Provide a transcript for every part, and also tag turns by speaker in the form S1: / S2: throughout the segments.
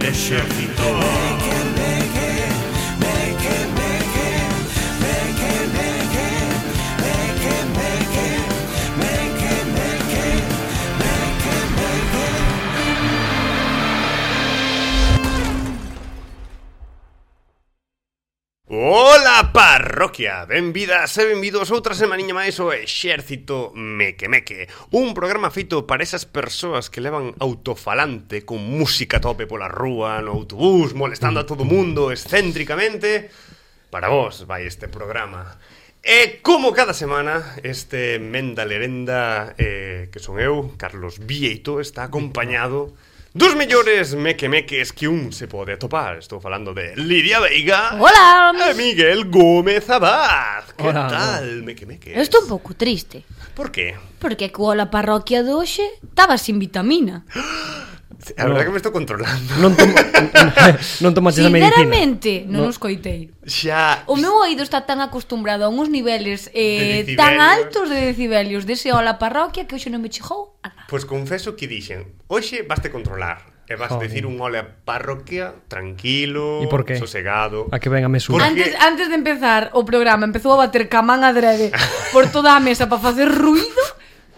S1: ejército. Ola parroquia, benvidas e benvidos outra semaniña máis ao Exército Meque Meque Un programa feito para esas persoas que levan autofalante con música a tope pola rúa, no autobús, molestando a todo mundo excéntricamente Para vos vai este programa E como cada semana, este Menda Lerenda eh, que son eu, Carlos Vieito, está acompañado Dos mellores meque-meques que un se pode atopar Estou falando de Lidia Veiga
S2: Hola.
S1: E Miguel Gómez Abad Que
S3: Hola.
S1: tal, meque-meques?
S2: Eu estou un pouco triste,
S1: Por qué?
S2: porque coa la parroquia de hoxe estaba sin vitamina.
S1: A verdad que me estou controlando
S3: Non, tom non tomaches a medicina
S2: Sinceramente, non os coitei.
S1: Xa
S2: O meu oído está tan acostumbrado a uns niveles eh,
S1: De decibelios.
S2: tan altos de decibelios dese ola parroquia que hoxe non me chegou a nada.
S1: Pois confeso que dixen Hoxe vaste controlar E vas
S3: Joder.
S1: decir un ole a parroquia Tranquilo,
S3: E por qué?
S1: sosegado
S3: A que venga
S1: Por-
S3: mesura
S1: Porque-
S2: Antes, antes de empezar o programa empezou a bater camán adrede por toda a mesa para facer ruido,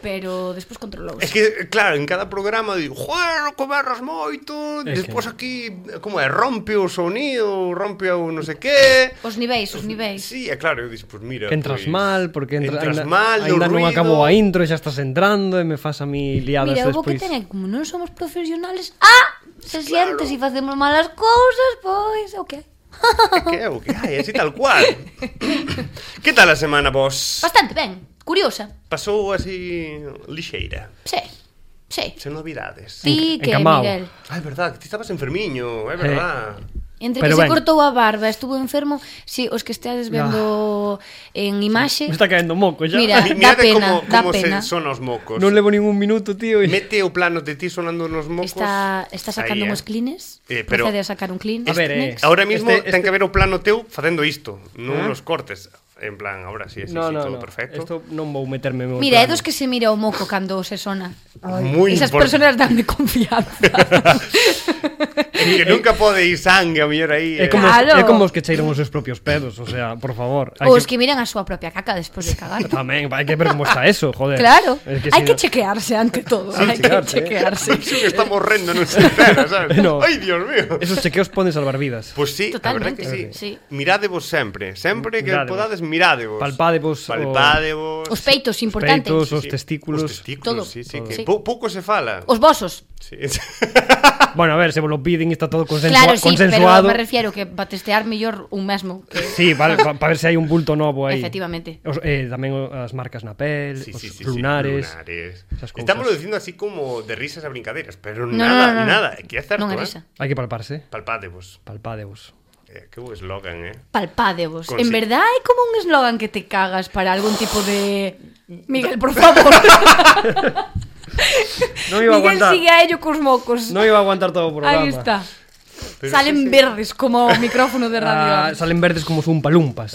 S2: pero despois controlou.
S1: Es que, claro, en cada programa digo, joder, que berras moito,
S3: É
S1: despois aquí, como é, rompe o sonido, rompe o non sei que,
S2: Os niveis, os niveis.
S1: Sí, e claro, eu dixo, pois mira,
S3: Que entras
S1: pois,
S3: mal, porque entra,
S1: Pues, entras
S3: ainda,
S1: mal, do
S3: ainda non
S1: ruido.
S3: acabou a intro e xa estás entrando e me fas a mi liadas
S2: Mira, houve que
S3: despois.
S2: tener, como non somos profesionales, ah, se siente si facemos malas cousas, pois, o que?
S1: É que é o que hai, así tal cual. que tal a semana vos?
S2: Bastante ben, curiosa.
S1: Pasou así lixeira,
S2: Sí, sí. Eh.
S1: sen novidades.
S2: Ti
S3: En-
S2: que,
S3: encamao.
S2: Miguel.
S1: Ah, é verdad, que ti estabas enfermiño, é verdad.
S2: Entre
S3: Pero
S2: que
S3: ben.
S2: se cortou a barba, estuvo enfermo, si os que esteades vendo en imaxe,
S3: Me está caendo moco xa.
S2: Mira.
S1: Mi-
S2: Da
S1: mirade
S2: pena,
S1: como,
S2: da
S1: como
S2: pena.
S1: se son os mocos.
S3: non levo ningún minuto, tío. E...
S1: Mete o plano de ti sonando nos mocos.
S2: está, está sacando
S1: aí, eh.
S2: uns clines,
S1: Eh, pero-
S2: procede a sacar un clean.
S3: A ver, eh,
S2: Next.
S1: Ahora mismo
S3: Este-
S1: este, ten
S3: este-
S1: que ver o plano teu facendo isto, non
S3: Ah.
S1: os cortes. En plan, ahora sí, sí,
S3: No,
S1: sí,
S3: no,
S1: todo
S3: no.
S1: perfecto.
S3: Esto non vou meterme en meu
S2: Mira, é
S3: plano.
S2: dos que se mira o moco cando se sona.
S1: Muy
S2: Esas
S1: impor-
S2: personas danme confianza.
S1: É que nunca pode ir sangue, a mellor aí. eh.
S3: É como,
S2: Claro.
S3: os, é como os que cheiran os seus propios pedos, o sea, por favor. Hai
S2: Ou os que miran a súa propia caca despois de cagar.
S3: Tamén, hai que ver como está eso, joder.
S2: Claro,
S3: Es
S2: hai
S3: si
S2: que
S3: no-
S2: chequearse ante todo,
S3: Sí,
S2: hai que
S3: chequearse, eh.
S2: chequearse.
S1: Sí, que está morrendo non se entera, sabes?
S3: No.
S1: Ai, Dios mío.
S3: Esos chequeos poden salvar vidas.
S1: Pois sí,
S2: Totalmente,
S1: a verdade que sí.
S2: sí.
S1: Mirádevos sempre, sempre que
S3: Mirádevos.
S1: podades mirádevos.
S3: Palpádevos o-
S1: Palpádevos.
S2: Os peitos importantes.
S3: Peitos,
S1: Sí,
S3: os
S1: sí.
S3: testículos.
S1: Os testículos,
S2: Todo.
S1: sí, sí,
S2: Todo.
S1: que
S2: Sí.
S1: pou- pouco se fala.
S2: Os vosos.
S1: Sí.
S3: Bueno, a ver, se vos lo piden, está todo consensua-
S2: Claro, sí, pero
S3: consensuado.
S2: me refiero que para testear mellor un mesmo. Que...
S3: Sí, vale, para pa ver se hai un bulto novo aí.
S2: Efectivamente.
S3: Os, eh, tamén o- as marcas na pel,
S1: Sí,
S3: os
S1: sí, sí, sí,
S3: lunares.
S1: lunares.
S3: esas cousas.
S1: Estámoslo dicindo así como de risas a brincadeiras, pero
S2: No,
S1: nada,
S2: no, no, no.
S1: nada, é que é certo,
S2: Non é
S1: eh?
S2: risa.
S3: Hai que palparse,
S1: Palpádevos.
S3: palpadevos.
S1: Eh, que bo eslogan, eh?
S2: Palpádevos.
S1: Con-
S2: En
S1: sí.
S2: verdad é como un eslogan que te cagas para algún tipo de... Miguel, por favor.
S3: Non iba a
S2: Miguel
S3: aguantar.
S2: sigue a ello cos mocos.
S3: Non iba a aguantar todo o programa.
S2: Aí está.
S1: Pero
S2: Salen
S1: sí, sí.
S2: verdes como o micrófono de radio.
S3: Ah, salen verdes como zumpalumpas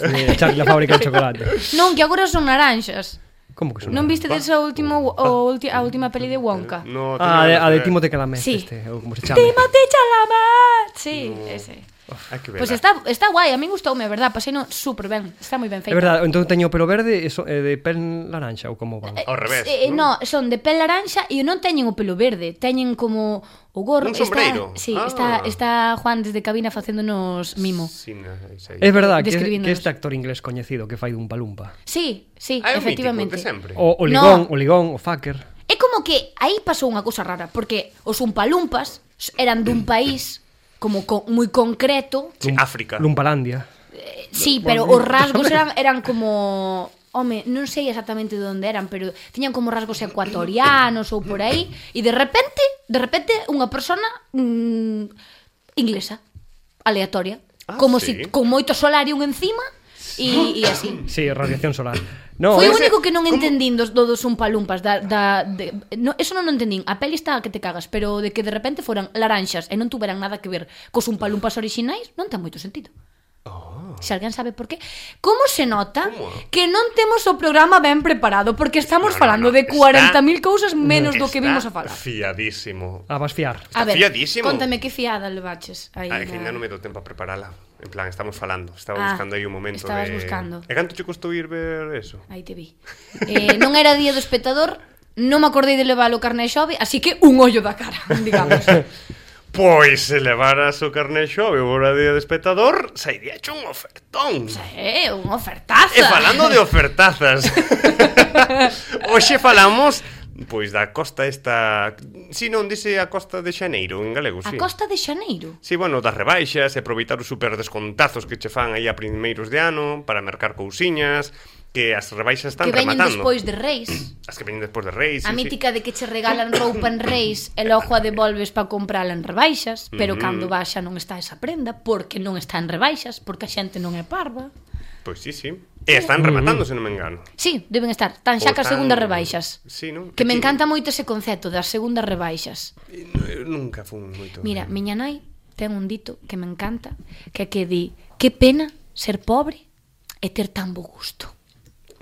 S3: de Charlie la fábrica de chocolate.
S2: Non, que agora son naranxas.
S3: Como que son?
S2: Non vistedes o último o ulti, a última peli de Wonka?
S1: No, tenía
S3: Ah, a de,
S1: ganas
S3: a de
S1: ver.
S3: Timote Calamé,
S2: Sí.
S3: este, ou como se chame.
S2: Timothy Chalamet. Sí, ese.
S1: Hai que ver.
S2: Pois pues está, está guai, a min gustoume, a verdad, pasei no super ben, está moi ben
S3: É
S2: feito.
S3: verdade, entón teño o pelo verde e so, eh, de pel laranxa ou como van.
S1: Ao revés,
S2: Eh,
S1: non?
S2: no, son de pel laranxa e non teñen o pelo verde, teñen como o
S1: Un
S2: gorro,
S1: sombreiro.
S2: está, sí,
S1: Ah.
S2: está está Juan desde cabina facéndonos mimo.
S1: Sí, no, es ahí.
S3: É verdade que,
S2: describíndonos.
S3: que este actor inglés coñecido que fai dun palumpa.
S2: Sí, sí,
S1: Ah, é o mítico, de
S2: efectivamente.
S1: sempre.
S3: O, o ligón,
S2: No.
S3: o ligón, o fucker.
S2: É como que aí pasou unha cousa rara, porque os umpalumpas eran dun país como co, moi concreto.
S1: Sí, África.
S3: Lumpalandia.
S2: Eh, Sí, pero os rasgos eran eran como Home, non sei exactamente de onde eran, pero tiñan como rasgos ecuatorianos ou por aí, e de repente, de repente, unha persona mm, inglesa, aleatoria,
S1: Ah,
S2: como
S1: sí.
S2: si con moito solarium encima, e, e así.
S3: Sí, radiación solar. No,
S2: Foi o
S3: ese-
S2: único que non entendín dos, do, dos umpalumpas da, da, de, no, Eso non o entendín A peli está que te cagas Pero de que de repente foran laranxas E non tuveran nada que ver Cos umpalumpas orixinais Non ten moito sentido Se alguén sabe por qué Como se nota
S1: Oh. Como?
S2: que non temos o programa ben preparado Porque
S1: No,
S2: estamos
S1: no,
S2: falando
S1: no,
S2: de
S1: está-
S2: 40.000 cousas menos do
S1: Está
S2: que vimos a falar
S1: fiadísimo.
S3: A vas fiar.
S1: Está fiadísimo.
S2: contame que fiada levaches aí.
S1: Ai, que ainda
S2: na-
S1: non me dou tempo a preparala. En plan, estamos falando. Estaba
S2: Ah,
S1: buscando aí un momento
S2: estabas
S1: de...
S2: buscando.
S1: E canto che custou ir ver eso?
S2: Aí te vi. Eh, non era día do espectador, non me acordei de levar o carné xove, así que un ollo da cara, digamos.
S1: Pois se levaras o carné xove ou hora de espectador, sairía un ofertón.
S2: Eh, un ofertazo.
S1: E falando de ofertazas. Hoxe falamos pois da costa esta, si non dice a costa de Xaneiro en galego,
S2: A
S1: si.
S2: Costa de Xaneiro.
S1: Si, bueno, das rebaixas e aproveitar os super descontazos que che fan aí a primeiros de ano para mercar cousiñas, que as rebaixas están
S2: que veñen
S1: rematando.
S2: despois de Reis.
S1: As que veñen despois de Reis,
S2: A
S1: sí, sí.
S2: mítica de que che regalan roupa en Reis e logo a devolves para comprala en rebaixas, pero cando vas xa non está esa prenda porque non está en rebaixas, porque a xente non é parva.
S1: Pois sí, sí. E están
S2: Mm.
S1: rematando, se non me engano.
S2: Sí, deben estar. Tan
S1: Ou
S2: xa que as
S1: tan-
S2: segundas rebaixas.
S1: Sí, non?
S2: Que me
S1: Aquí-
S2: encanta moito ese concepto das segundas rebaixas.
S1: Eu Eh, nunca fun moito.
S2: Mira, miña nai ten un dito que me encanta, que é que di, que pena ser pobre e ter tan bo gusto.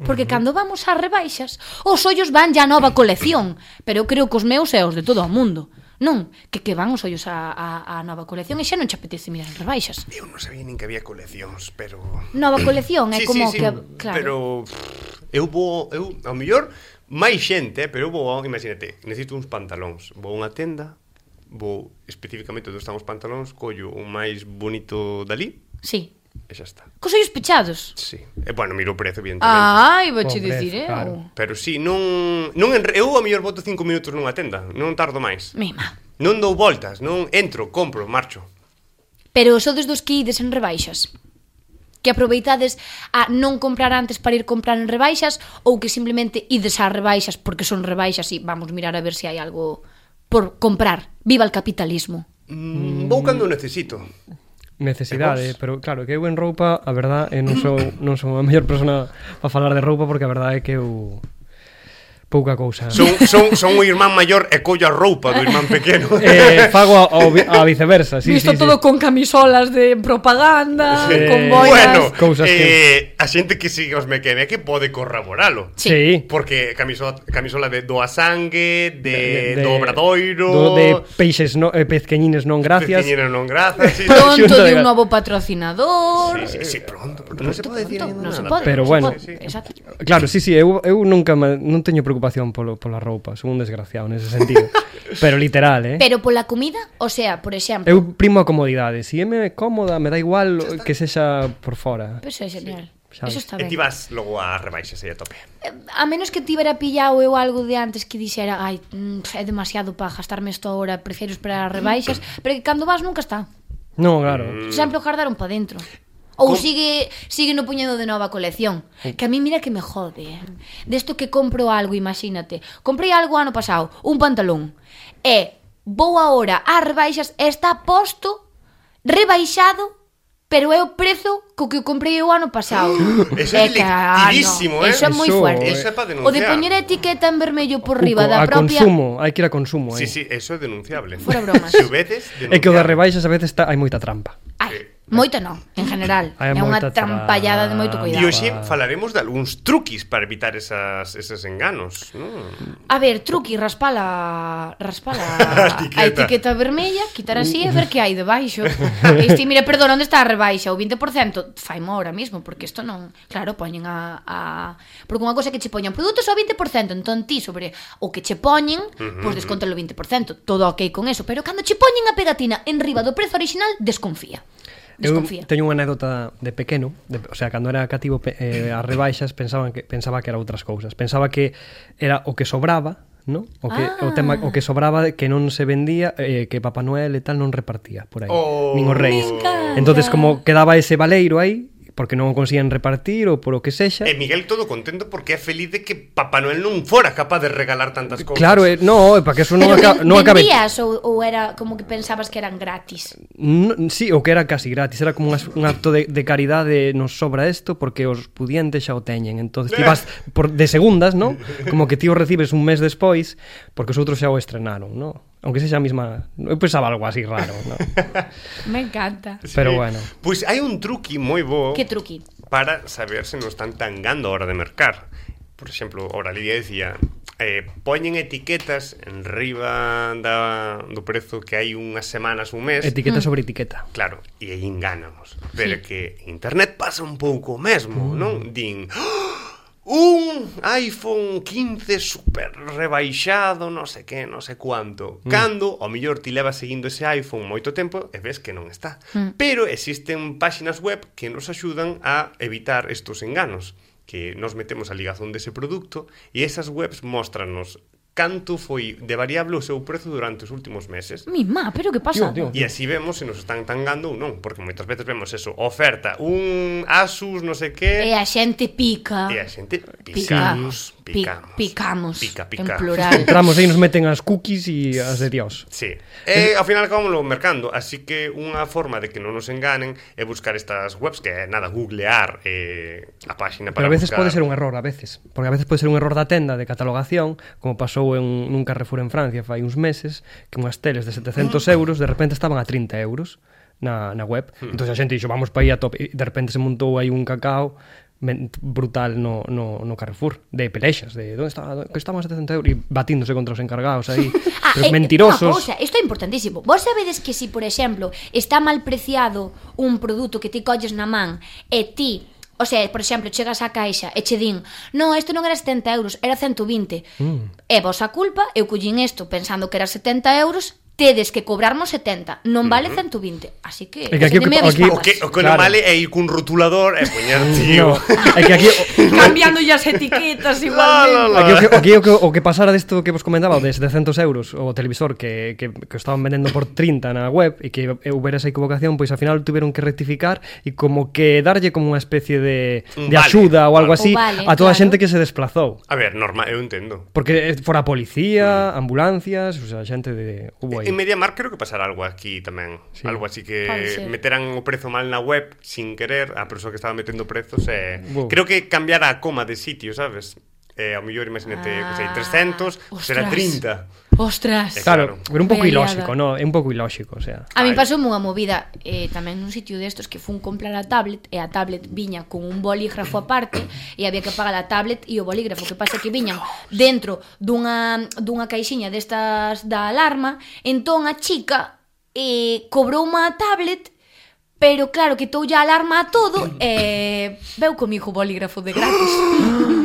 S2: Porque cando vamos ás rebaixas, os ollos van ya a nova colección, pero eu creo que os meus e os de todo o mundo. Non, que que van os ollos a, a, a nova colección e xa non che apetece mirar as rebaixas.
S1: eu non sabía nin que había coleccións, pero
S2: Nova colección é
S1: Sí,
S2: como
S1: sí, sí,
S2: que... Claro.
S1: Pero eh, pff, eu vou, eu ao mellor máis xente, eh, pero eu vou, a- imagínate, necesito uns pantalóns, vou a unha tenda, vou especificamente onde están os pantalóns, collo o máis bonito dali
S2: Sí.
S1: e xa está.
S2: Cos ollos pechados.
S1: Sí. E bueno, miro o prezo, evidentemente.
S2: Ai, vou che
S3: Pobreza,
S2: dicir, eh?
S3: claro.
S2: Claro.
S1: Pero sí, non, non enre- eu ao mellor boto 5 minutos nunha tenda, non tardo máis.
S2: Mima.
S1: Non dou voltas, non entro, compro, marcho.
S2: Pero sodes dos que ides en rebaixas? Que aproveitades a non comprar antes para ir comprar en rebaixas ou que simplemente ides a rebaixas porque son rebaixas e vamos mirar a ver se hai algo por comprar. Viva el capitalismo.
S1: Mm, vou cando necesito. E
S3: Necesidade,
S1: vos?
S3: eh, pero claro, que eu en roupa, a verdad, eu non sou, non sou a mellor persona para falar de roupa porque a verdade é que eu pouca cousa.
S1: Son, son, son o irmán maior e collo a roupa do irmán pequeno.
S3: Eh, fago a, ao vi- a viceversa, sí, sí, sí.
S2: con camisolas de propaganda,
S3: Sí. con boinas.
S1: Eh, bueno,
S3: Cousas
S1: eh, a xente que sigue os mequeme que pode corroboralo.
S2: Sí.
S3: sí.
S1: Porque camisola, camisola de do a sangue, de,
S3: De- de-
S1: Eh, do obradoiro,
S3: do, de peixes no, eh, pezqueñines non gracias.
S1: Peciñero non grazas. Sí, sí,
S2: Pronto de un
S3: Xunta de-
S2: novo patrocinador.
S1: sí, sí, pronto, pronto. Non se pode decir
S2: Pronto,
S1: ainda
S2: non se
S1: nada,
S2: pode. non se
S3: Pero bueno.
S2: pode.
S1: Sí, sí.
S2: Exacto.
S3: Claro, sí, sí, eu, eu nunca me, non teño preocupación polo, pola roupa, son un desgraciado nese sentido. pero literal, eh?
S2: Pero pola comida, o sea, por exemplo,
S3: Eu primo a comodidade, si é me cómoda, me da igual que sexa por fora.
S2: Pero eso é genial.
S3: Sabes.
S2: Eso está
S1: E
S2: ben.
S1: ti vas logo a rebaixas aí a tope.
S2: Eh, A menos que tivera pillado eu algo de antes que dixera Ai, mm, pf, é demasiado para gastarme isto ahora Prefiero esperar as rebaixas Pero que cando vas nunca está
S3: Non,
S1: Eh,
S3: claro.
S2: Sempre o guardaron para dentro
S1: Com-
S2: Ou
S1: Mm.
S2: sigue, sigue no puñado de nova colección Que a mí mira que me jode eh. Desto que compro algo, imagínate Comprei algo ano pasado, un pantalón E vou ahora ás rebaixas e Está posto, rebaixado Pero é o prezo co que o comprei o ano pasado
S1: Eso é
S2: que, ah, no,
S1: delictivísimo, eh.
S2: Eso é moi
S3: Eso-
S2: fuerte
S1: Eso é pa
S2: O de
S1: denunciar.
S2: poñer a etiqueta en vermello por riba
S3: Uco,
S2: da
S3: a
S2: propia
S3: consumo, hai que ir a consumo,
S1: Sí,
S3: eh.
S1: sí, eso é denunciable.
S2: Fora bromas.
S1: Se o vedes,
S3: É que o
S1: denunciable.
S3: da rebaixas a veces tá, hai moita trampa.
S2: Ai, moito non, en general
S3: Hai
S2: É unha
S3: moita
S2: trampallada de moito
S3: trampa.
S1: E
S2: cuidado
S1: hoxe falaremos de algúns truquis para evitar esas, eses enganos, non?
S2: A ver, truqui, raspala Raspala a
S1: etiqueta.
S2: a etiqueta vermella Quitar así e ver que hai debaixo E Este, mira, perdón, onde está a rebaixa O 20% faimo ahora mismo Porque isto non, claro, poñen a, a... Porque unha cosa é que che poñan produtos ao 20% Entón ti sobre o que che poñen Pois pues descontalo o 20% Todo ok con eso, pero cando che poñen a pegatina En riba do prezo original, desconfía Desconfía
S3: Eu teño unha anécdota de pequeno, de, o sea, cando era cativo pe- eh, as rebaixas pensaban que pensaba que era outras cousas. Pensaba que era o que sobraba, ¿no? O que ah. o tema o que sobraba de que non se vendía, eh, que Papá Noel e tal non repartía por aí,
S1: Oh.
S3: nin os reis.
S2: Me encanta.
S3: Entonces como quedaba ese baleiro aí porque non o conseguían repartir ou por o que sexa.
S1: E Miguel todo contento porque é feliz de que Papá Noel non fora capaz de regalar tantas cousas.
S3: Claro, eh, no, eh, para que eso non, aca
S2: ven-
S3: non acabe.
S2: vendías ou, ou era como que pensabas que eran gratis?
S3: No, sí, o que era casi gratis, era como un, as- un acto de, de caridade, nos sobra isto porque os pudientes xa o teñen. Entonces ti vas por de segundas, ¿no? Como que ti o recibes un mes despois porque os outros xa o estrenaron, ¿no? Aunque sexa a mesma... Eu pensaba algo así raro, ¿no?
S2: Me encanta.
S1: Sí.
S3: Pero bueno.
S1: Pois hai un truqui moi bo
S2: Que truqui.
S1: para saber se nos están tangando a hora de mercar. Por exemplo, ora Lidia dicía eh, poñen etiquetas en riba da, do prezo que hai unhas semanas, un mes.
S3: Etiqueta sobre etiqueta.
S1: Claro, e aí enganamos. Pero
S2: Sí.
S1: que internet pasa un pouco o mesmo, non? Din, "Ah! un iPhone 15 super rebaixado, non sei que, non sei cuánto. Cando, ao mellor, ti levas seguindo ese iPhone moito tempo e ves que non está. Pero existen páxinas web que nos axudan a evitar estos enganos que nos metemos a ligazón dese produto e esas webs mostranos canto foi de variable o seu prezo durante os últimos meses.
S2: Mi má, pero que pasa?
S3: Tío, tío.
S1: E así vemos se nos están tangando ou non, porque moitas veces vemos eso, oferta, un Asus, non sei
S2: E
S1: que,
S2: a xente pica.
S1: e a xente
S2: Pica.
S1: picamos,
S2: Pi-
S1: picamos.
S2: picamos.
S1: Pica,
S2: En
S1: pica.
S2: plural.
S3: Entramos aí, nos meten as cookies e as de Dios.
S1: Sí. E ao final acabamos mercando, así que unha forma de que non nos enganen é buscar estas webs que é nada googlear eh, a páxina para
S3: Pero a veces
S1: buscar.
S3: pode ser un error, a veces. Porque a veces pode ser un error da tenda de catalogación, como pasou en, nun Carrefour en Francia fai uns meses, que unhas teles de 700
S2: Mm.
S3: euros de repente estaban a 30 euros na, na web.
S1: Mm.
S3: Hmm. Entón a xente dixo, vamos para aí a tope. E de repente se montou aí un cacao men- brutal no, no, no Carrefour de pelexas, de onde está, que estaban a 700 euros e batíndose contra os encargados aí
S2: Ah,
S3: pero
S2: eh,
S3: os
S2: Unha
S3: mentirosos
S2: cousa, isto é importantísimo. Vos sabedes que si, por exemplo, está mal preciado un produto que ti colles na man e ti O sea, por exemplo, chegas á caixa e che din No, isto non era 70 euros, era 120 mm. É vosa culpa, eu collín isto pensando que era 70 euros Tedes que cobrarmos 70, non vale 120 Así que,
S3: É que aquí o que-
S2: acendeme as
S3: aquí-
S1: O
S2: papas.
S1: que, o que
S3: Claro.
S1: non vale é ir cun rotulador e poñer tío.
S3: no, é que aquí
S2: Cambiando as etiquetas igualmente
S3: Aquí, o, que, o, que, o, que, o que pasara disto que vos comentaba de 700 euros o televisor que, que, que o estaban vendendo por 30 na web e que houbera esa equivocación pois ao final tiveron que rectificar e como que darlle como unha especie de,
S1: Un
S3: de
S1: vale.
S3: axuda ou algo
S1: O
S3: así
S2: vale,
S3: a toda a
S2: claro.
S3: xente que se desplazou
S1: A ver, normal, eu entendo.
S3: porque eh, fora a
S1: Mm.
S3: policía, ambulancias o sea, xente de... hubo aí
S1: En Mediamar creo que pasará algo aquí tamén sí.
S3: Sí.
S1: Algo así
S2: Pode
S1: que
S2: ser.
S1: meterán o prezo mal na web Sin querer, a persoa que estaba metendo prezos eh,
S3: Wow.
S1: Creo que cambiará a coma de sitio, sabes? Eh, ao mellor, imagínate, ah, que sei, 300 pues será
S2: Ah, Ostras.
S1: 30
S2: Ostras
S1: Eh,
S3: Claro,
S1: claro.
S3: pero un pouco
S2: Vaya
S3: ilóxico, no? É un pouco ilóxico, o sea.
S2: A mí
S1: Ai.
S2: pasoume unha movida eh, tamén nun sitio destos que fun comprar a tablet e a tablet viña con un bolígrafo aparte e había que pagar a tablet e o bolígrafo que pasa que viñan dentro dunha, dunha caixiña destas da alarma entón a chica eh, cobrou unha tablet pero claro que toulle a alarma a todo e eh, veu comigo o bolígrafo de gratis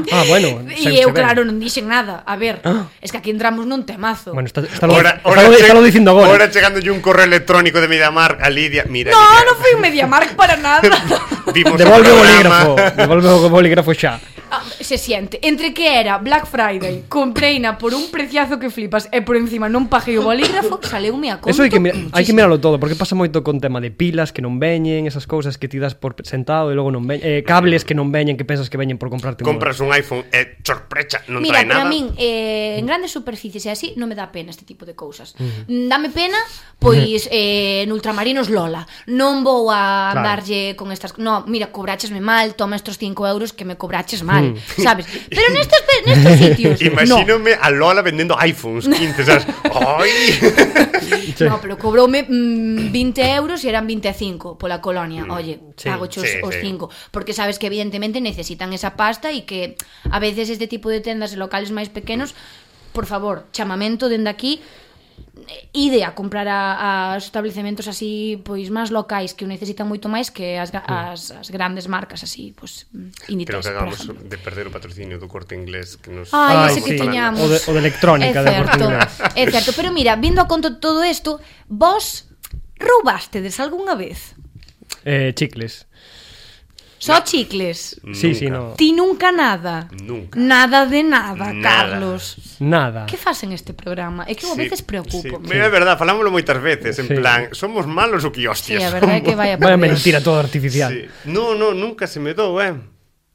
S3: Ah, bueno, se-
S2: e eu
S3: se ve.
S2: claro non dixen nada a ver, es que aquí entramos nun temazo
S3: Ah. Bueno, está, está, lo, está, lo, está lo
S1: che-
S3: dicindo agora.
S1: Ora chegando un correo electrónico de Mediamar a Lidia Mira,
S2: no,
S1: Lidia,
S2: non foi un Mediamark para nada
S1: vimos o
S3: Devolve o
S1: programa.
S3: bolígrafo, devolve o bolígrafo xa.
S2: Ah, se siente entre que era Black Friday compreina por un preciazo que flipas e por encima non paguei o bolígrafo saleume a conto
S3: Eso hai que, mira, hai que
S2: muchísimo.
S3: miralo todo, porque pasa moito con tema de pilas que non veñen, esas cousas que ti das por sentado e logo non veñen, eh, cables que non veñen, que pensas que veñen por comprarte un
S1: Compras un iPhone e sorprecha, non
S2: Mira,
S1: trae nada
S2: para min, eh, en grandes superficies e así, non me dá pena este tipo de cousas. Mm, Dame pena, pois, eh, en ultramarinos Lola. Non vou a
S3: Claro.
S2: andarlle con estas... No, mira, cobrachesme mal, toma estos 5 euros que me cobraches
S3: Mm.
S2: mal, sabes? Pero nestos, pe- nestos sitios, no.
S1: Imagínome a Lola vendendo iPhones 15, sabes? Ai!
S3: Che.
S2: No, pero cobroume mm, 20 euros e eran 25 pola colonia. Oye,
S3: sí,
S2: pago chos
S1: Mm, sí,
S2: os
S1: sí.
S2: 5, porque sabes que evidentemente necesitan esa pasta e que a veces este tipo de tendas e locales máis pequenos, por favor, chamamento dende aquí eh, ide a comprar a, a establecementos así pois máis locais que o necesitan moito máis que as, ga- as, as grandes marcas así, pois mm,
S1: Mm. Creo
S2: Inditex,
S1: que
S2: por
S1: acabamos
S2: exemplo.
S1: de perder o patrocinio do corte inglés que nos...
S2: Ai,
S3: Ai,
S2: ese que
S3: sí.
S2: tiñamos.
S3: O de- o de electrónica,
S2: é
S3: de Corte
S2: certo,
S3: Inglés.
S2: É certo, pero mira, vindo a conto todo isto, vos roubastedes algunha vez?
S3: eh, chicles.
S2: Só chicles.
S3: Sí, sí,
S1: Nunca.
S3: no.
S2: Ti nunca nada.
S1: Nunca.
S2: Nada de nada,
S1: Nada.
S2: Carlos.
S3: Nada.
S2: Que fas en este programa? É que eu a veces preocupo.
S1: Sí. É verdad, falámoslo moitas veces, en
S3: Sí.
S1: plan, somos malos o que
S2: Sí,
S1: hostias.
S2: a verdade é que vai a
S3: Vaya
S2: por Dios.
S3: mentira todo artificial.
S1: Sí. No, no, nunca se me dou, eh.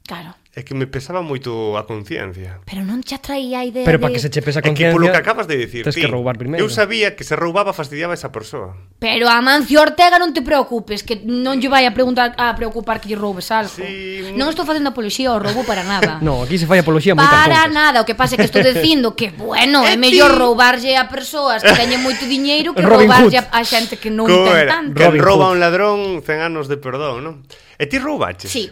S2: Claro.
S1: É que me pesaba moito a conciencia.
S2: Pero non che atraía a idea
S3: Pero
S2: de...
S3: para que se che
S1: É
S3: pesa
S1: que
S3: conciencia...
S1: polo que acabas de dicir,
S3: Tens
S1: ti,
S3: que roubar primeiro.
S1: eu sabía que se roubaba fastidiaba a esa persoa.
S2: Pero a Mancio Ortega non te preocupes Que non lle vai a preguntar a preocupar que lle roubes algo
S1: Sí.
S2: Non estou facendo apoloxía ao roubo para nada
S3: No, aquí se falla apoloxía moitas
S2: Para
S3: cousas.
S2: nada, o que pasa é que estou dicindo que, bueno,
S1: E
S2: é
S1: ti?
S2: mellor roubarlle a persoas que teñen moito diñeiro que
S3: Robin
S2: roubarlle a,
S3: Hood.
S2: a xente que non
S1: Co
S2: ten
S1: era?
S2: tanto.
S1: Que
S3: Robin
S1: rouba
S3: Hood.
S1: un ladrón 100 anos de perdón, non? E ti roubaches?
S2: Sí,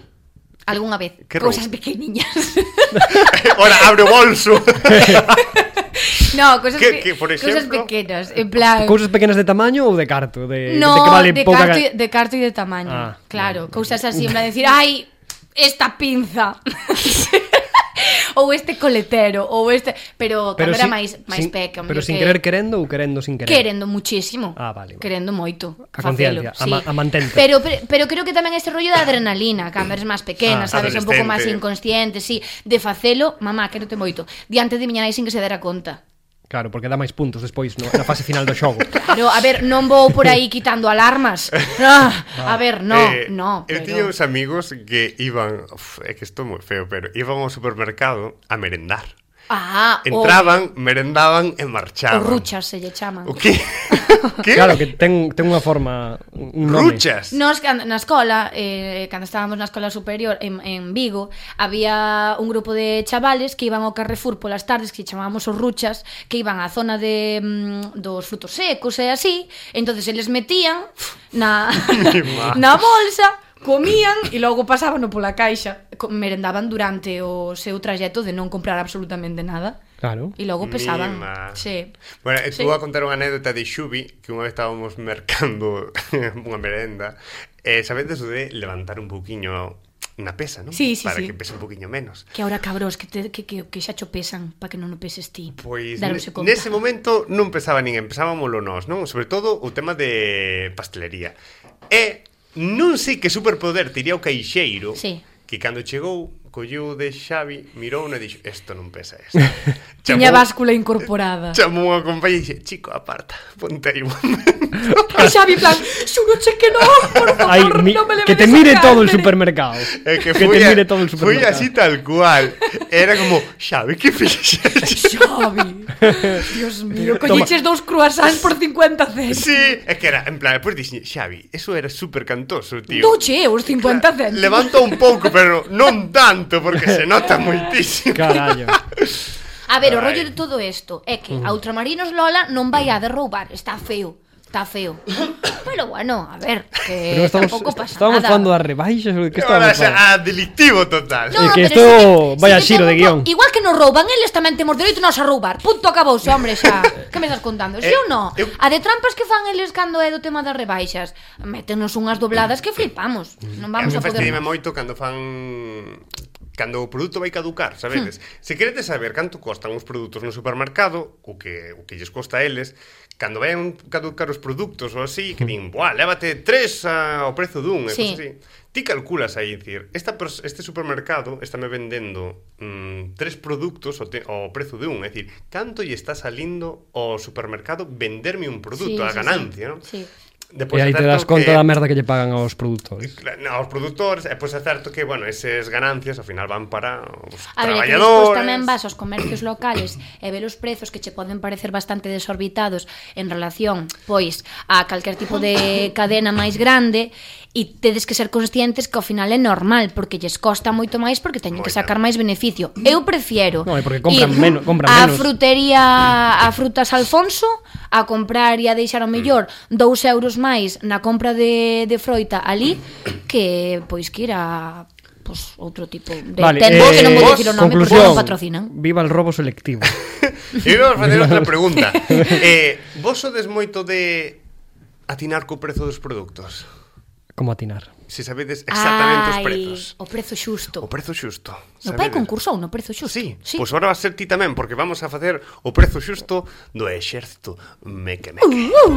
S2: algunha vez,
S1: Que
S2: cousas
S1: roubo?
S2: pequeniñas.
S1: Ora, abre o bolso.
S2: no, cousas,
S1: Que-
S2: que,
S1: que, por
S2: cousas
S1: exemplo?
S2: pequenas, en plan...
S3: Cousas pequenas de tamaño ou de carto? De, de
S2: no,
S3: que vale
S2: de,
S3: pouca...
S2: carto y, de carto y de tamaño,
S3: Ah,
S2: claro, cousas así, en plan decir, ai, esta pinza... ou este coletero, ou este, pero, cando era
S3: sin-
S2: máis máis
S3: sin-
S2: peca,
S3: Pero
S2: mellor
S3: sin
S2: que-
S3: querer querendo ou querendo sin querer?
S2: Querendo muchísimo.
S3: Ah, vale, vale.
S2: Querendo moito.
S3: A
S2: facelo,
S3: conciencia, a ma- a mantente.
S2: Pero, pero, pero creo que tamén ese rollo da adrenalina, cando eres máis pequena,
S3: Ah,
S2: sabes, un pouco máis
S1: adolescente.
S2: inconsciente, sí, de facelo, mamá, quérote moito, diante de miña nai sin que se dera conta.
S3: Claro, porque dá máis puntos despois no, na fase final do xogo.
S2: Pero, a ver, non vou por aí quitando alarmas. Ah, a ver, no,
S1: Eh,
S2: no.
S1: Eu
S2: Pero...
S1: tiña uns amigos que iban, uf, é que isto é moi feo, pero iban ao supermercado a merendar.
S2: Ah,
S1: Entraban, merendaban e
S2: o, o
S1: marchaban.
S2: ruchas se lle chaman.
S1: O que? que?
S3: claro, que ten, ten unha forma... Un nome.
S1: Ruchas.
S2: Nos can- na escola, eh, cando estábamos na escola superior en, en Vigo, había un grupo de chavales que iban ao Carrefour polas tardes que chamábamos os ruchas, que iban á zona de mm, dos frutos secos e así, entonces eles metían na
S1: Que mal.
S2: na bolsa comían e logo pasaban pola caixa Co- merendaban durante o seu traxecto de non comprar absolutamente nada
S3: Claro.
S2: e logo pesaban
S1: Mima.
S2: sí.
S1: Bueno, e tú sí.
S2: Sí.
S1: a contar unha anécdota de Xubi Que unha vez estábamos mercando unha merenda eh, Sabedes o de levantar un pouquiño na pesa, non?
S2: Sí, sí,
S1: Para
S2: sí.
S1: que pese un pouquiño menos
S2: que ahora cabros que, te, que, que, que xa cho pesan para que non o peses ti
S1: Pois ne-
S2: Daronse
S3: e
S2: conta.
S1: nese momento non pesaba ninguén, pesábamolo nós, non? Sobre todo o tema de pastelería. E non sei que superpoder tiría o caixeiro
S2: Sí.
S1: que cando chegou colleu de Xavi, mirou e dixo, isto non pesa isto.
S2: Tiña báscula incorporada.
S1: Chamou a compañía e dixe, chico, aparta, ponte aí un momento.
S2: E Xavi en plan, xuroche que non, por favor,
S3: Ay,
S2: non
S3: mi-
S2: me leves
S3: que te
S2: ese
S3: mire todo el
S2: cárcere".
S3: supermercado.
S1: É E que,
S3: que
S1: fui
S3: te
S1: a-
S3: mire todo el
S1: fui
S3: supermercado.
S1: así tal cual. Era como, Xavi, que fixeche?
S2: Xavi, Dios mío,
S3: Toma.
S2: colleches dous croissants por 50 céntimos.
S1: Sí, é que era, en plan, pois dixen, Xavi, eso era super cantoso, tío.
S2: Douche eu os 50 céntimos.
S1: Levanta un pouco, pero non tanto, porque se nota moitísimo.
S2: Eh,
S3: Carallo.
S2: A ver, o
S1: Ay.
S2: rollo de todo isto é
S3: Mm.
S2: que a Ultramarinos Lola non vai a derroubar, está feo. Está feo. Pero bueno, a ver, que
S3: Pero estamos,
S2: tampouco pasa
S3: estamos
S2: nada.
S3: falando das rebaixas ou de que
S1: Ahora
S3: estábamos falando?
S1: xa, a delictivo total.
S3: No. É
S2: pero
S3: que isto
S2: sí que-
S3: vai a
S2: que
S3: xiro de
S2: temos-
S3: guión.
S2: Igual que nos rouban, eles tamén temos dereito nós a roubar. Punto acabouse, hombre, xa. que me estás contando?
S1: Eh,
S2: Si ou non?
S1: eu-
S2: A de trampas que fan eles cando é do tema das rebaixas, métenos unhas dobladas que flipamos. Non vamos
S1: a mí
S2: a poder.
S1: fastidime moito cando fan cando o produto vai caducar, sabedes?
S2: Hmm.
S1: Se queredes saber canto costan os produtos no supermercado, o que o que lles costa a eles, cando vayan caducar os produtos ou así, que din, "Buah, lévate tres a, ao prezo dun", e sí.
S2: Sí.
S1: así. Ti calculas aí, dicir, esta pers- este supermercado está me vendendo mm, tres produtos ao, te, ao prezo de un, é dicir, canto lle está salindo ao supermercado venderme un produto,
S2: Sí,
S1: a
S2: sí,
S1: ganancia,
S2: sí.
S1: non?
S2: Sí.
S3: E
S1: Depois
S3: aí te
S1: certo
S3: das conta
S1: que-
S3: da merda que lle pagan aos produtores.
S1: Cla- no, aos produtores, e pois é certo que, bueno, eses ganancias ao final van para os
S2: A ver, é que despois
S1: traballadores.
S2: tamén vas aos comercios locales e ver os prezos que che poden parecer bastante desorbitados en relación, pois, a calquer tipo de cadena máis grande e tedes que ser conscientes que ao final é normal porque lles costa moito máis porque teñen que
S1: Moito.
S2: sacar máis beneficio. Eu prefiero
S3: No, e porque compran
S2: ir
S3: menos- compran
S2: a
S3: menos.
S2: frutería a frutas Alfonso a comprar e a deixar o mellor dous euros máis na compra de, de froita ali que pois que ir a pois, outro tipo de vale, tendo
S1: eh,
S2: que non
S1: vos,
S2: vou dicir o nome porque non
S3: conclusión,
S2: patrocinan.
S3: Viva el robo selectivo.
S1: E vamos facer outra pregunta. eh, vos sodes moito de atinar co prezo dos produtos?
S3: Como atinar.
S1: Se sabedes exactamente Ai, os
S2: Ai,
S1: prezos.
S2: O prezo xusto.
S1: O prezo xusto.
S2: Meu pai
S1: sabedes?
S2: concursou no prezo xusto.
S1: Sí,
S2: sí.
S1: pois agora vas ser ti tamén, porque vamos a facer o prezo xusto do exército meque meque.
S2: Uh,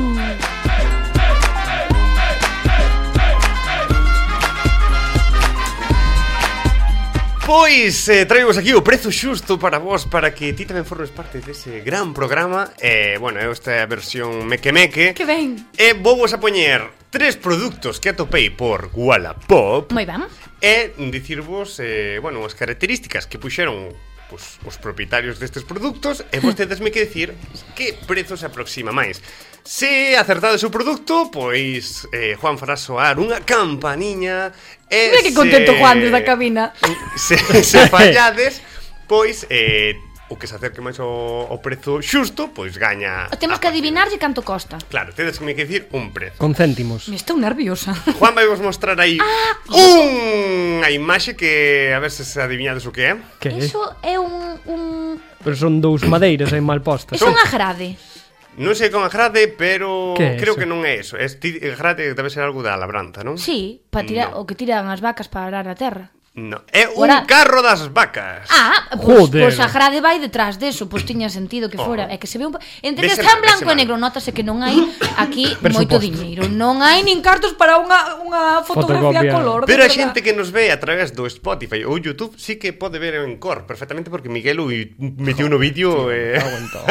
S1: Pois eh, traemos aquí o prezo xusto para vos Para que ti tamén formes parte dese gran programa eh, Bueno, é esta versión meque meque
S2: Que ben.
S1: E vou vos a poñer tres produtos que atopei por Wallapop
S2: Moi ben.
S1: E dicirvos, eh, bueno, as características que puxeron pues, os propietarios destes produtos E vostedes me que decir que prezo se aproxima máis Se acertades o produto, pois eh, Juan fará soar unha campaniña e
S2: Mira que contento Juan desde a cabina.
S1: Se, se fallades, pois eh, o que se acerque máis ao, ao prezo xusto, pois gaña
S2: O Temos
S1: a partida.
S2: que adivinarlle canto costa.
S1: Claro, tedes que me que dicir un prezo
S3: Con céntimos.
S2: Me estou nerviosa.
S1: Juan vai vos mostrar aí
S2: Ah,
S1: unha imaxe que a ver se se adivinades o que é.
S3: Que é?
S2: Iso é un, un...
S3: Pero son dous madeiras aí mal postas.
S2: Iso é un agrade.
S1: Non sei con agrade, pero
S3: Que é
S1: creo
S3: eso?
S1: que non é eso. Es ti- agrade debe ser algo da labranza, non?
S2: Sí, para tirar o que tiran as vacas para arar a terra.
S1: No. É un
S2: Ora-
S1: carro das vacas.
S2: Ah, pois,
S3: Joder.
S2: pois a grade vai detrás deso, pois tiña sentido que fora.
S1: Oh.
S2: É que se ve un... Entre
S1: Vese
S2: que está
S1: mal,
S2: en blanco
S1: vese
S2: e
S1: mal.
S2: negro, notase que non hai aquí moito
S3: Presuposto.
S2: diñeiro. Non hai nin cartos para unha, unha fotografía a
S3: Fotocopia.
S2: color. de
S1: Pero a
S2: verdad.
S1: xente que nos ve a través do Spotify ou YouTube sí que pode ver en cor perfectamente porque Miguel o metiu no vídeo eh. e...
S3: aguantou.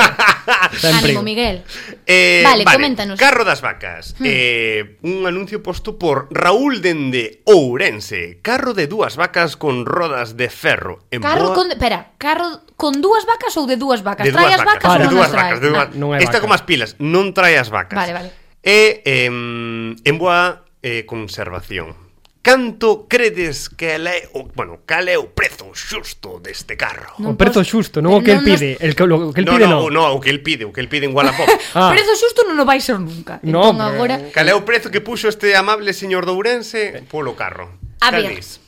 S3: Sempre.
S2: Ánimo, Miguel.
S1: Eh,
S2: Vale, coméntanos. Hmm.
S1: Carro das vacas. Eh, un anuncio posto por Raúl Dende Ourense. Carro de dúas vacas con rodas de ferro. En boa-
S2: Carro con... Pera, carro con dúas vacas ou de dúas vacas?
S1: de
S2: Trae
S1: dúas
S2: as vacas
S1: vacas,
S2: ou
S1: de
S2: non
S1: dúas
S2: as trae?
S1: vacas, de dúas.
S2: Ah,
S3: Non é
S1: Esta
S3: vaca.
S1: como as pilas, non trae as vacas.
S2: Vale, vale.
S1: E em, en boa eh, conservación. Canto credes que é o, bueno, cal é o prezo xusto deste carro?
S2: Non Eh,
S3: O prezo
S2: posso-
S3: xusto, non o que
S2: Pero non
S3: el
S2: nos-
S3: pide. El que, lo, o que el
S1: no,
S3: pide
S1: no,
S3: non.
S1: no, o que el pide, o que el pide en Wallapop.
S3: Ah.
S2: Prezo xusto non o vai ser nunca.
S3: No,
S2: entón,
S3: pero-
S2: agora...
S1: cal é o prezo que puxo este amable señor de Ourense polo carro?
S2: A
S1: Cal
S2: ver.
S1: dis?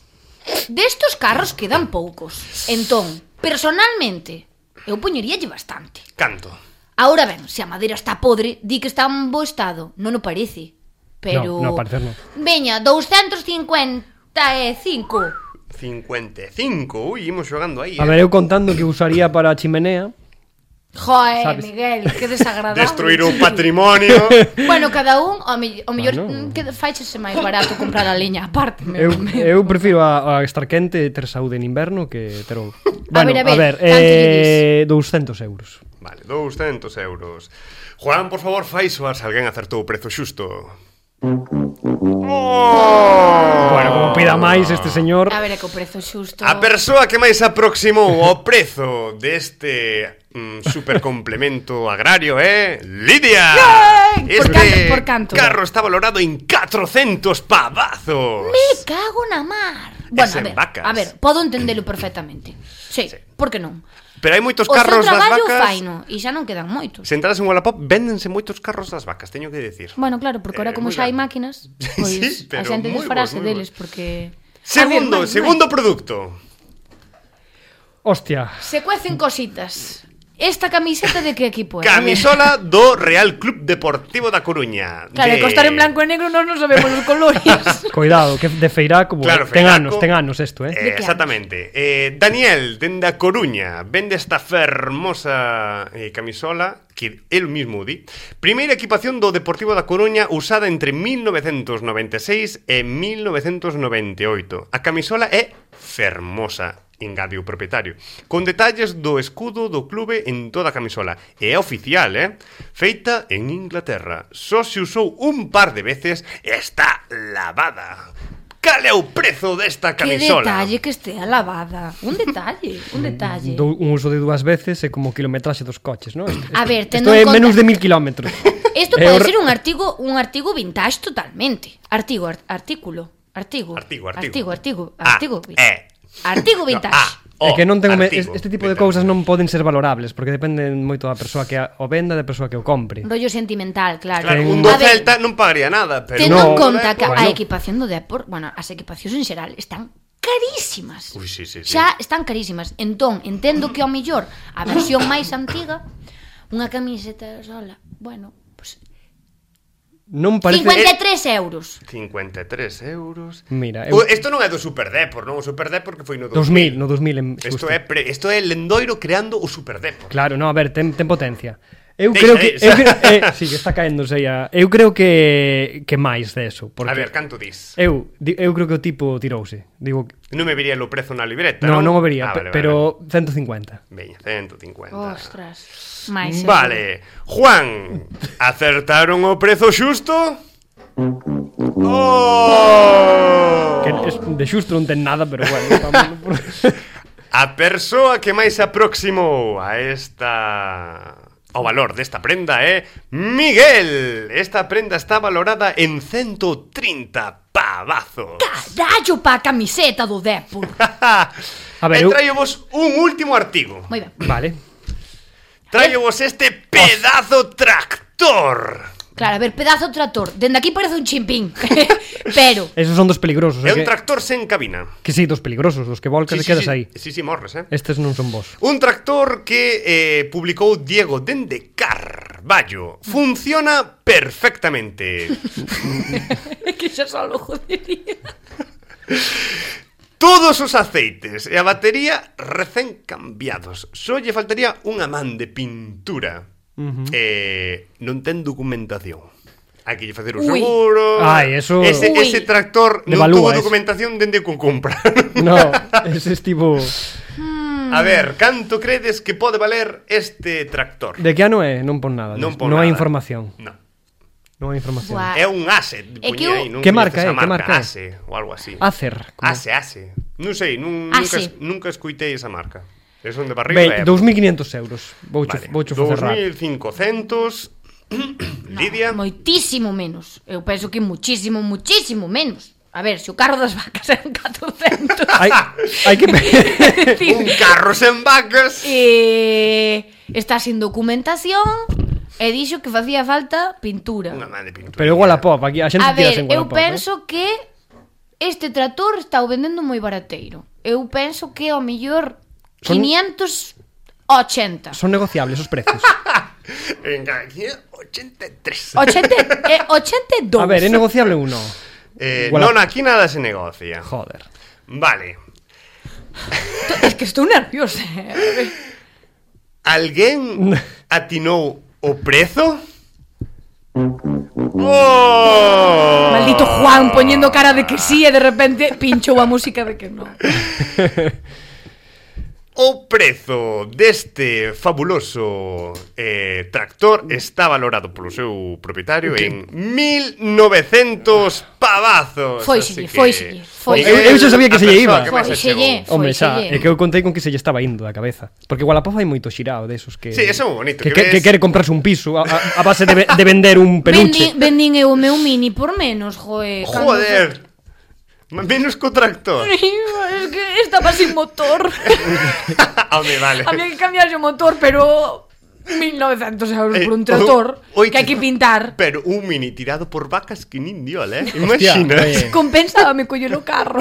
S2: Destos carros quedan poucos. Entón, personalmente, eu poñeríalle bastante.
S1: Canto.
S2: Ahora ben, se a madeira está podre, di que está en bo estado. Non o parece. Pero...
S3: No, no, ao parecer non.
S2: Veña, 255.
S1: 55, ui, imos xogando aí.
S3: A ver, eu contando que usaría para a chimenea.
S2: Joe,
S3: Sabes?
S2: Miguel, que desagradable.
S1: eh. Destruir o patrimonio.
S2: Bueno, cada un, ao, me, ao mellor,
S3: Bueno.
S2: bueno. que faichese máis barato comprar a leña aparte.
S3: Ah, Eu,
S2: meu amigo.
S3: eu prefiro a, a estar quente e ter saúde en inverno que ter ou.
S2: ver, a
S3: a
S2: ver,
S3: ver
S2: canto
S3: eh, 200 euros.
S1: Vale, 200 euros. Juan, por favor, fai soar se alguén acertou o prezo xusto.
S3: Bueno, como pida máis este señor.
S2: A ver, é que o prezo xusto...
S1: A persoa que máis aproximou ao prezo deste mm, supercomplemento agrario é Lidia.
S2: Yay! Por canto, por canto.
S1: carro está valorado en 400 pavazos.
S2: Me cago na mar. Bueno, a
S1: sen
S2: ver,
S1: vacas.
S2: a ver, podo entendelo perfectamente. Sí,
S1: Sí.
S2: sí. por que non?
S1: Pero hai moitos
S2: O seu
S1: carros das
S2: traballo
S1: vacas.
S2: faino e xa non quedan moitos.
S1: Se entras en Wallapop, véndense moitos carros das vacas, teño que decir.
S2: Bueno, claro,
S1: Eh,
S2: porque ahora como
S1: moi
S2: xa hai
S1: ben.
S2: máquinas, pues
S1: Sí, sí,
S2: pois a
S1: pero
S2: xente
S1: moi
S2: desfarase
S1: bons, moi
S2: deles
S1: bons.
S2: porque
S1: Segundo,
S2: A ver, máis,
S1: segundo
S2: máis.
S1: producto.
S3: Hostia.
S2: se cuecen cositas. Esta camiseta de que equipo é?
S1: Camisola do Real Club Deportivo da Coruña.
S2: Claro,
S1: de...
S2: de... costar en blanco e negro non nos sabemos os colores.
S3: Cuidado, que de feirá como
S1: Claro,
S3: ten
S1: Feiraco.
S3: anos, ten anos isto, eh.
S1: Eh, exactamente. Eh, Daniel, dende a Coruña, vende esta fermosa eh, camisola que el mismo di. Primeira equipación do Deportivo da Coruña usada entre 1996 e 1998. A camisola é fermosa, engade o propietario. Con detalles do escudo do clube en toda a camisola. E é oficial, eh? Feita en Inglaterra. Só se usou un par de veces e está lavada. Cal é o prezo desta
S2: que
S1: camisola?
S2: detalle que estea lavada. Un detalle, un detalle.
S3: Do, un uso de dúas veces é como o kilometraxe dos coches, non? Isto-
S2: A ver,
S3: Isto
S2: tendo
S3: é
S2: en conta...
S3: menos de mil kilómetros.
S2: Isto
S3: É
S2: pode
S3: hor-
S2: ser un artigo, un artigo vintage totalmente. Artigo, ar- artículo, artigo.
S1: Artigo, artigo.
S2: Artigo, artigo,
S1: Ah,
S2: artigo. vi-
S1: eh.
S2: Artigo vintage.
S3: É que non tengo me... es-
S1: Ah, Oh, artigo,
S3: este tipo de
S1: verdade.
S3: cousas non poden ser valorables porque dependen moito da persoa que a- o venda e da persoa que o compre.
S2: Rollo sentimental, claro.
S1: Claro,
S3: Ten-
S1: un do
S2: A ver,
S1: Celta non pagaría nada, pero
S2: Tendo en
S3: No,
S2: conta que
S3: bueno.
S2: a equipación do Depor, bueno, as equipacións en xeral están carísimas.
S1: Ui, sí, sí, sí.
S2: Xa están carísimas. Entón, entendo que ao mellor a versión máis antiga, unha camiseta sola, bueno, pues,
S3: Non parece
S2: 53 euros.
S1: 53 euros.
S3: Mira,
S1: eu...
S3: eu-
S1: Isto non é do Super Depor, non? O Super Depor que foi no 2000.
S3: 2000, no 2000 en
S1: Isto
S3: xusto.
S1: é, pre... Isto é Lendoiro creando o Super Depor.
S3: Claro, no, a ver, ten, ten potencia. Eu
S1: Deixa,
S3: creo que
S1: deixa.
S3: eu, cre- eh, sí, que está caéndose aí a... Eu creo que que máis deso, porque
S1: A ver, canto dis?
S3: eu di- eu creo que o tipo tirouse. Digo,
S1: Non me vería o prezo na libreta, Ah,
S3: no, non o
S1: vería,
S3: vería, pe- pero 150.
S1: Veña, 150.
S2: Ostras. Mais,
S1: Vale. Juan, acertaron o prezo xusto? Oh!
S3: Que es, de xusto non ten nada, pero bueno, vamos por...
S1: A persoa que máis se aproximou a esta ao valor desta prenda é Miguel. Esta prenda está valorada en 130 pavazos.
S2: Carallo pa camiseta do Depor.
S1: A
S3: A
S1: ver, e
S3: ver, eu-
S1: traio vos un último artigo.
S2: Moi ben.
S3: Vale.
S1: Traio vos este pedazo tractor.
S2: Claro, a ver, pedazo de trator. Dende aquí parece un chimpín. pero,
S3: Esos son dos peligrosos,
S1: É
S3: eh,
S1: un
S3: que,
S1: tractor sen cabina.
S3: que sí, dos peligrosos, dos que volcas e quedas
S1: sí,
S3: aí.
S1: Sí, sí, morres, eh?
S3: Estes non son vos.
S1: Un tractor que eh, publicou Diego Dende Carballo. Funciona perfectamente.
S2: que xa só lo jodería.
S1: Todos os aceites e a batería recén cambiados. Só lle faltaría unha man de pintura. Uh -huh. eh, non ten documentación. Hai que lle facer o
S2: Ui.
S1: seguro.
S3: Ai, eso-
S1: Ese,
S2: Ui.
S1: ese tractor non
S3: Devalúa
S1: tuvo
S3: eso.
S1: documentación dende que o compra.
S3: No, ese tipo
S2: Mm.
S1: A ver, canto credes que pode valer este tractor?
S3: de que ano é, non pon nada.
S1: Non pon
S3: non hai
S1: nada.
S3: información,
S1: No.
S3: non hai información.
S2: Buah.
S1: É un ASE.
S2: É que
S1: puñe
S2: o-
S1: aí, non
S3: Que
S1: coñezo
S3: marca,
S1: esa
S3: eh, que marca é?
S1: ASE ou algo así.
S3: Acer. como-
S1: ASE, ASE. Non sei, nun, nunca,
S2: Ase.
S1: es- nunca escuitei esa marca. É son de barriga. e-
S3: Ben, 2500 euros. Vou
S1: Vale,
S3: voucho facer raro.
S1: 2500 Lidia
S2: Moitísimo menos. Eu penso que muchísimo, muchísimo menos. A ver, se o carro das vacas eran 400.
S3: Hai, hai que pe-
S2: decir,
S1: un carro sen vacas
S2: eh, está sin documentación e dixo que facía falta pintura.
S1: Unha man de pintura
S3: Pero igual a pop, aquí a xente
S2: A
S3: tira eh. sen
S2: ver, eu penso que este trator está o vendendo moi barateiro. Eu penso que ao mellor
S3: Son-
S2: 580.
S3: Son negociables os prezos.
S1: Venga, aquí 83
S2: 80, eh, 82.
S3: A ver, é negociable uno.
S1: eh,
S3: Igual a-
S1: Non, aquí nada se negocia
S3: Joder.
S1: Vale
S2: es que estou nerviosa. eh. A ver.
S1: Alguén atinou o prezo? Oh!
S2: Maldito Juan poñendo cara de que sí e de repente pinchou a música de que non.
S1: O prezo deste fabuloso eh, tractor está valorado polo seu propietario en 1900 pavazos. así
S2: Fóiselle,
S1: que-
S2: fóiselle,
S1: Miguel,
S2: fóiselle.
S3: Eu- eu xa sabía que
S1: a
S3: se lle
S1: persoa
S3: iba.
S1: que máis se chegou.
S2: Fóiselle. Foi,
S3: Hombre, xa,
S2: xelle.
S3: é que eu contei con que se lle estaba indo da cabeza. Porque igual a pop hai moito xirao desos que...
S1: Sí, eso é moi bonito, que
S3: Que, que, que
S1: ves-
S3: quere comprarse un piso a, a, a base de, ve- de vender un peluche.
S2: Vendín, vendín eu o meu mini por menos, joe. cando-
S1: Joder. Menos co tractor.
S2: Es que estaba sin motor.
S1: Home, Ah, vale.
S2: Había que cambiarse o motor, pero 1900 euros por
S1: Eh,
S2: un
S1: o-
S2: trator
S1: oito.
S2: que hai que pintar.
S1: Pero un mini tirado por vacas que nin diol, eh?
S3: Hostia,
S1: Imaginas?
S3: oye.
S2: Compensábame collo no carro.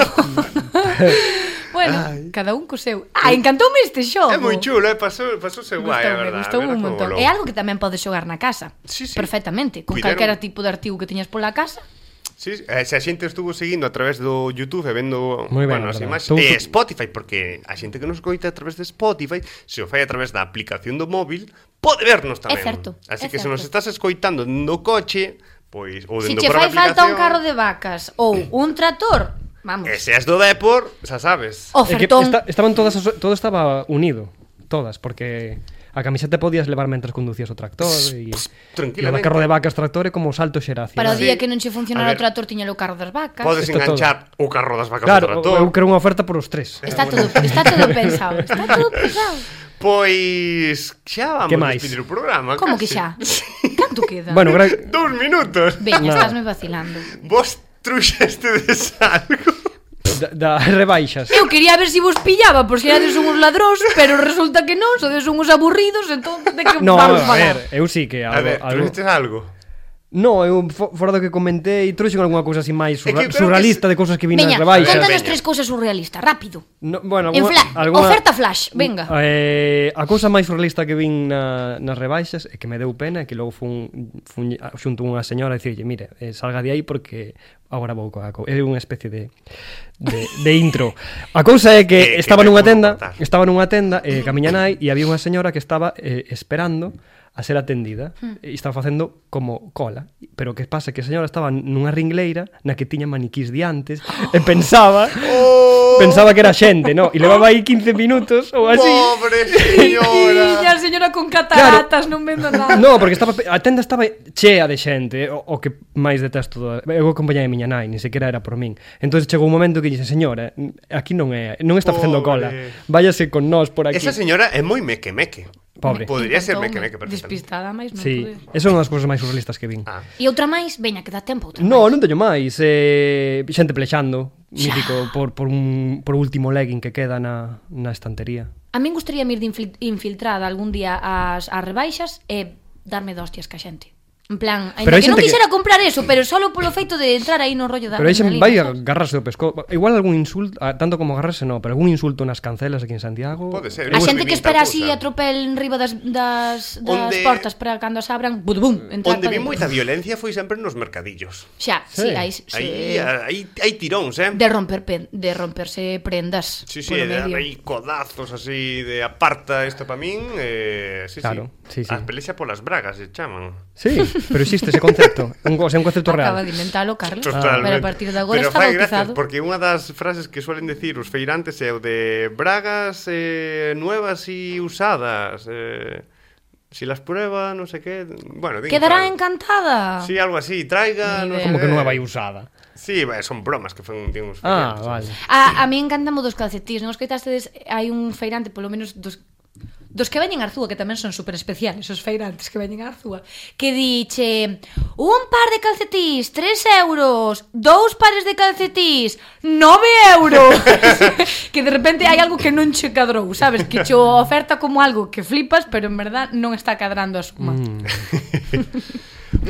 S2: bueno,
S1: Ai.
S2: cada un co seu. Ah, encantoume este xogo.
S1: É moi chulo, eh? Pasou, pasouse guai, é
S2: Gustoume,
S1: verdade.
S2: gustoume un montón. É algo que tamén podes xogar na casa.
S1: Sí, sí.
S2: Perfectamente, con
S1: Cuidaron.
S2: calquera tipo de artigo que teñas pola casa.
S1: Sí, sí. Eh, se a xente estuvo seguindo a través do YouTube e vendo
S3: Moi ben,
S1: bueno, as
S3: verdad.
S1: imaxes
S3: Tú-
S1: e
S3: tú-
S1: Spotify, porque a xente que nos coita a través de Spotify, se o fai a través da aplicación do móvil, pode vernos tamén.
S2: É certo,
S1: Así
S2: é
S1: que se
S2: certo.
S1: nos estás escoitando dentro do coche, pois ou
S2: Se
S1: dentro
S2: che
S1: da
S2: fai
S1: aplicación,
S2: falta un carro de vacas ou
S1: Eh.
S2: un trator, vamos.
S1: E se as do Depor, xa sabes.
S3: É que
S2: Ofertón.
S3: esta- estaban todas as- todo estaba unido, todas, porque a camiseta podías levar mentras conducías o tractor e e o
S1: tranquilamente.
S3: da carro de vacas tractor é como o salto xera hacia.
S2: Para o
S1: Sí.
S2: día que non che funcionara
S1: A
S2: o
S1: ver.
S2: trator tiña o carro das vacas.
S1: Podes
S3: Está todo.
S1: enganchar o carro das vacas
S3: Claro,
S1: ao
S3: eu
S1: trator.
S3: creo unha oferta por os tres.
S2: Está todo, está todo pensado, está todo pensado.
S1: Pois xa vamos
S3: Que
S1: a
S3: máis?
S1: despedir o programa.
S2: Como que
S1: casi.
S2: xa? Canto queda?
S3: Bueno, gra
S1: Dous minutos.
S2: Veña,
S3: nada.
S2: estásme vacilando.
S1: Vos truxestedes algo.
S3: da, das rebaixas.
S2: Eu quería ver se si vos pillaba por si erades unhos ladróns, pero resulta que non, sodes unhos aburridos, entón de que
S3: No,
S2: vamos
S3: a
S2: falar?
S3: ver, eu sí que
S1: A
S3: algo,
S1: ver,
S3: algo...
S1: truxestes algo.
S3: No, eu fo- fora do que comentei, trouxen algunha cousa así máis
S1: É que
S3: surra
S1: creo que
S3: surrealista de cousas que vin nas
S2: Veña,
S3: rebaixas.
S2: contanos
S1: Veña.
S2: tres cousas surrealistas, rápido.
S3: No, bueno,
S2: En
S3: alguna,
S2: fla-
S3: alguna-
S2: oferta flash, venga.
S3: Eh, a cousa máis surrealista que vin na, nas rebaixas e que me deu pena é que logo fun, fun a- xunto unha señora e dicirlle, mire, eh, salga de aí porque agora vou coa co-". É unha especie de, de, de intro. A cousa é
S1: Eh, que
S3: que estaba
S1: vai
S3: nunha
S1: como
S3: tenda,
S1: cortar.
S3: estaba nunha tenda eh, ca miña nai e había unha señora que estaba eh, esperando a ser atendida
S2: Hmm.
S3: e estaba facendo como cola. Pero que pasa que a señora estaba nunha ringleira na que tiña maniquís diantes e pensaba pensaba que era xente, no? E levaba aí 15 minutos ou así.
S1: Pobre señora.
S2: Tiña, señora con cataratas, non vendo nada.
S3: No, porque estaba a tenda estaba chea de xente, o, o que máis detesto do, eu acompañei a miña nai, ni sequera era por min. Entón chegou un momento que dixen, "Señora, aquí non é, non está facendo cola.
S1: Pobre.
S3: Váyase con nós por aquí."
S1: Esa señora é moi meque-meque.
S3: Pobre.
S1: Podría ser
S2: Entón,
S1: meque-meque perfectamente.
S2: Despistada, máis non
S3: Sí,
S2: pude.
S3: esa é unha das cousas máis surrealistas que vin.
S1: Ah.
S2: E outra máis, veña, que dá tempo outra
S3: No,
S2: máis.
S3: non teño máis, eh, xente plexando, mítico por por un por último legging que queda na na estantería.
S2: A min gustaría ir de infil- infiltrada algún día ás, ás rebaixas e darme de hostias ca xente. En plan, ainda
S3: Pero hai
S2: que non
S3: xente que-
S2: quixera comprar eso, pero solo polo feito de entrar aí no rollo da
S3: Pero aí se
S2: adrenalina,
S3: vai
S2: sabes?
S3: agarrarse do pesco, igual algún insulto, ah, tanto como agarrarse no, pero algún insulto nas cancelas aquí en Santiago.
S1: Pode ser. Eu
S2: A xente que
S1: vivín
S2: espera
S1: tal
S2: así
S1: cousa.
S2: a tropel enriba das, das, das
S1: Onde-
S2: portas para cando as abran, bum, bum, entrar
S1: Onde
S2: pa
S1: vi
S2: dentro.
S1: moita violencia foi sempre nos mercadillos.
S2: Xa, sí,
S3: Sí.
S2: aí, sí.
S1: Aí aí hai tiróns, eh?
S2: de romper pen, de romperse prendas
S1: Sí, sí,
S2: polo
S1: de
S2: medio.
S1: aí codazos así de aparta isto para min, eh, sí,
S3: Claro, sí, sí.
S1: As pelexas polas bragas se chaman.
S3: Sí, pero existe ese concepto, un, o sea, un concepto
S2: Acaba
S3: real.
S2: de inventalo, Carlos.
S1: Totalmente.
S2: ¿Eh? Pero a partir de agora
S1: Pero
S2: está
S1: fai gracia,
S2: bautizado.
S1: porque unha das frases que suelen decir os feirantes é o de bragas eh, nuevas e usadas. Eh, si las prueba, non sei que... Bueno, din,
S2: Quedará
S1: claro.
S2: encantada.
S1: Sí, algo así, traiga... non
S2: Ni idea.
S1: sei
S3: Como que
S1: qué.
S3: nueva e usada.
S1: Sí, bah, son bromas que fan din uns
S3: Ah,
S1: feirantes.
S3: vale.
S2: A, a mí encantamos dos calcetís, non escoitastedes, hai un feirante, polo menos dos dos que veñen a Arzúa, que tamén son super especiales, os feirantes que veñen a Arzúa, que diche, un par de calcetís, 3 euros, dous pares de calcetís, 9 euros. que de repente hai algo que non che cadrou, sabes? Que cho oferta como algo que flipas, pero en verdad non está cadrando a suma. Mm.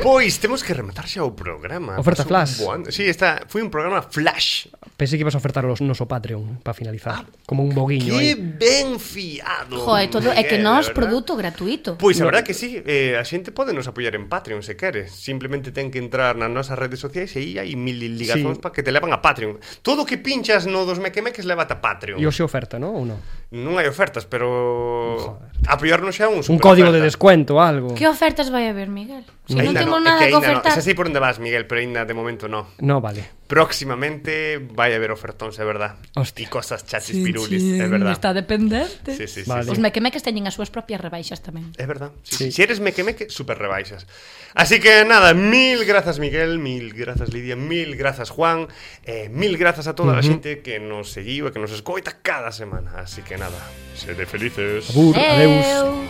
S1: Pois, temos que rematar xa o programa.
S3: Oferta
S1: Pasou
S3: flash.
S1: un bo ano. Sí, está, foi un programa flash.
S3: Pensei que ibas a ofertar o noso Patreon para finalizar, como un boguiño
S1: Que
S3: aí.
S1: ben fiado.
S2: Joder, todo, é que
S1: Miguel, de
S2: nós
S1: verdad.
S2: produto gratuito.
S1: Pois a verdad que sí, eh, a xente pode nos apoiar en Patreon se quere Simplemente ten que entrar nas nosas redes sociais E aí hai mil ligazóns
S3: Sí.
S1: sí. para que te levan a Patreon Todo o que pinchas no dos mequemeques levate a Patreon
S3: E hoxe oferta, non? Ou non?
S1: Non hai ofertas, pero apoiarnos xa é un
S3: Un código de descuento, algo.
S2: Que ofertas vai haber, Miguel? Si non
S1: Ainda
S2: temos
S1: no, é
S2: nada que,
S1: ainda
S2: ofertar.
S1: No. Xa sei por onde vas, Miguel, pero ainda de momento no
S3: No, vale.
S1: Próximamente vai haber ofertóns, é verdad E
S3: Hostia.
S1: cosas chachis pirulis, é verdad
S2: Está dependente.
S1: Sí, sí, sí,
S3: Vale.
S1: sí.
S2: Os mequemeques teñen as súas propias rebaixas tamén.
S1: Es verdad. Sí,
S3: Sí.
S1: sí. Si eres mequemeque, super rebaixas. Así que nada, mil grazas Miguel, mil grazas Lidia, mil grazas Juan, eh, mil grazas a toda uh -huh. a xente que nos seguiu e que nos escoita cada semana. Así que nada, sede felices.
S2: Eh,
S3: Abur, adeus.
S2: Adeus.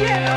S4: Yeah!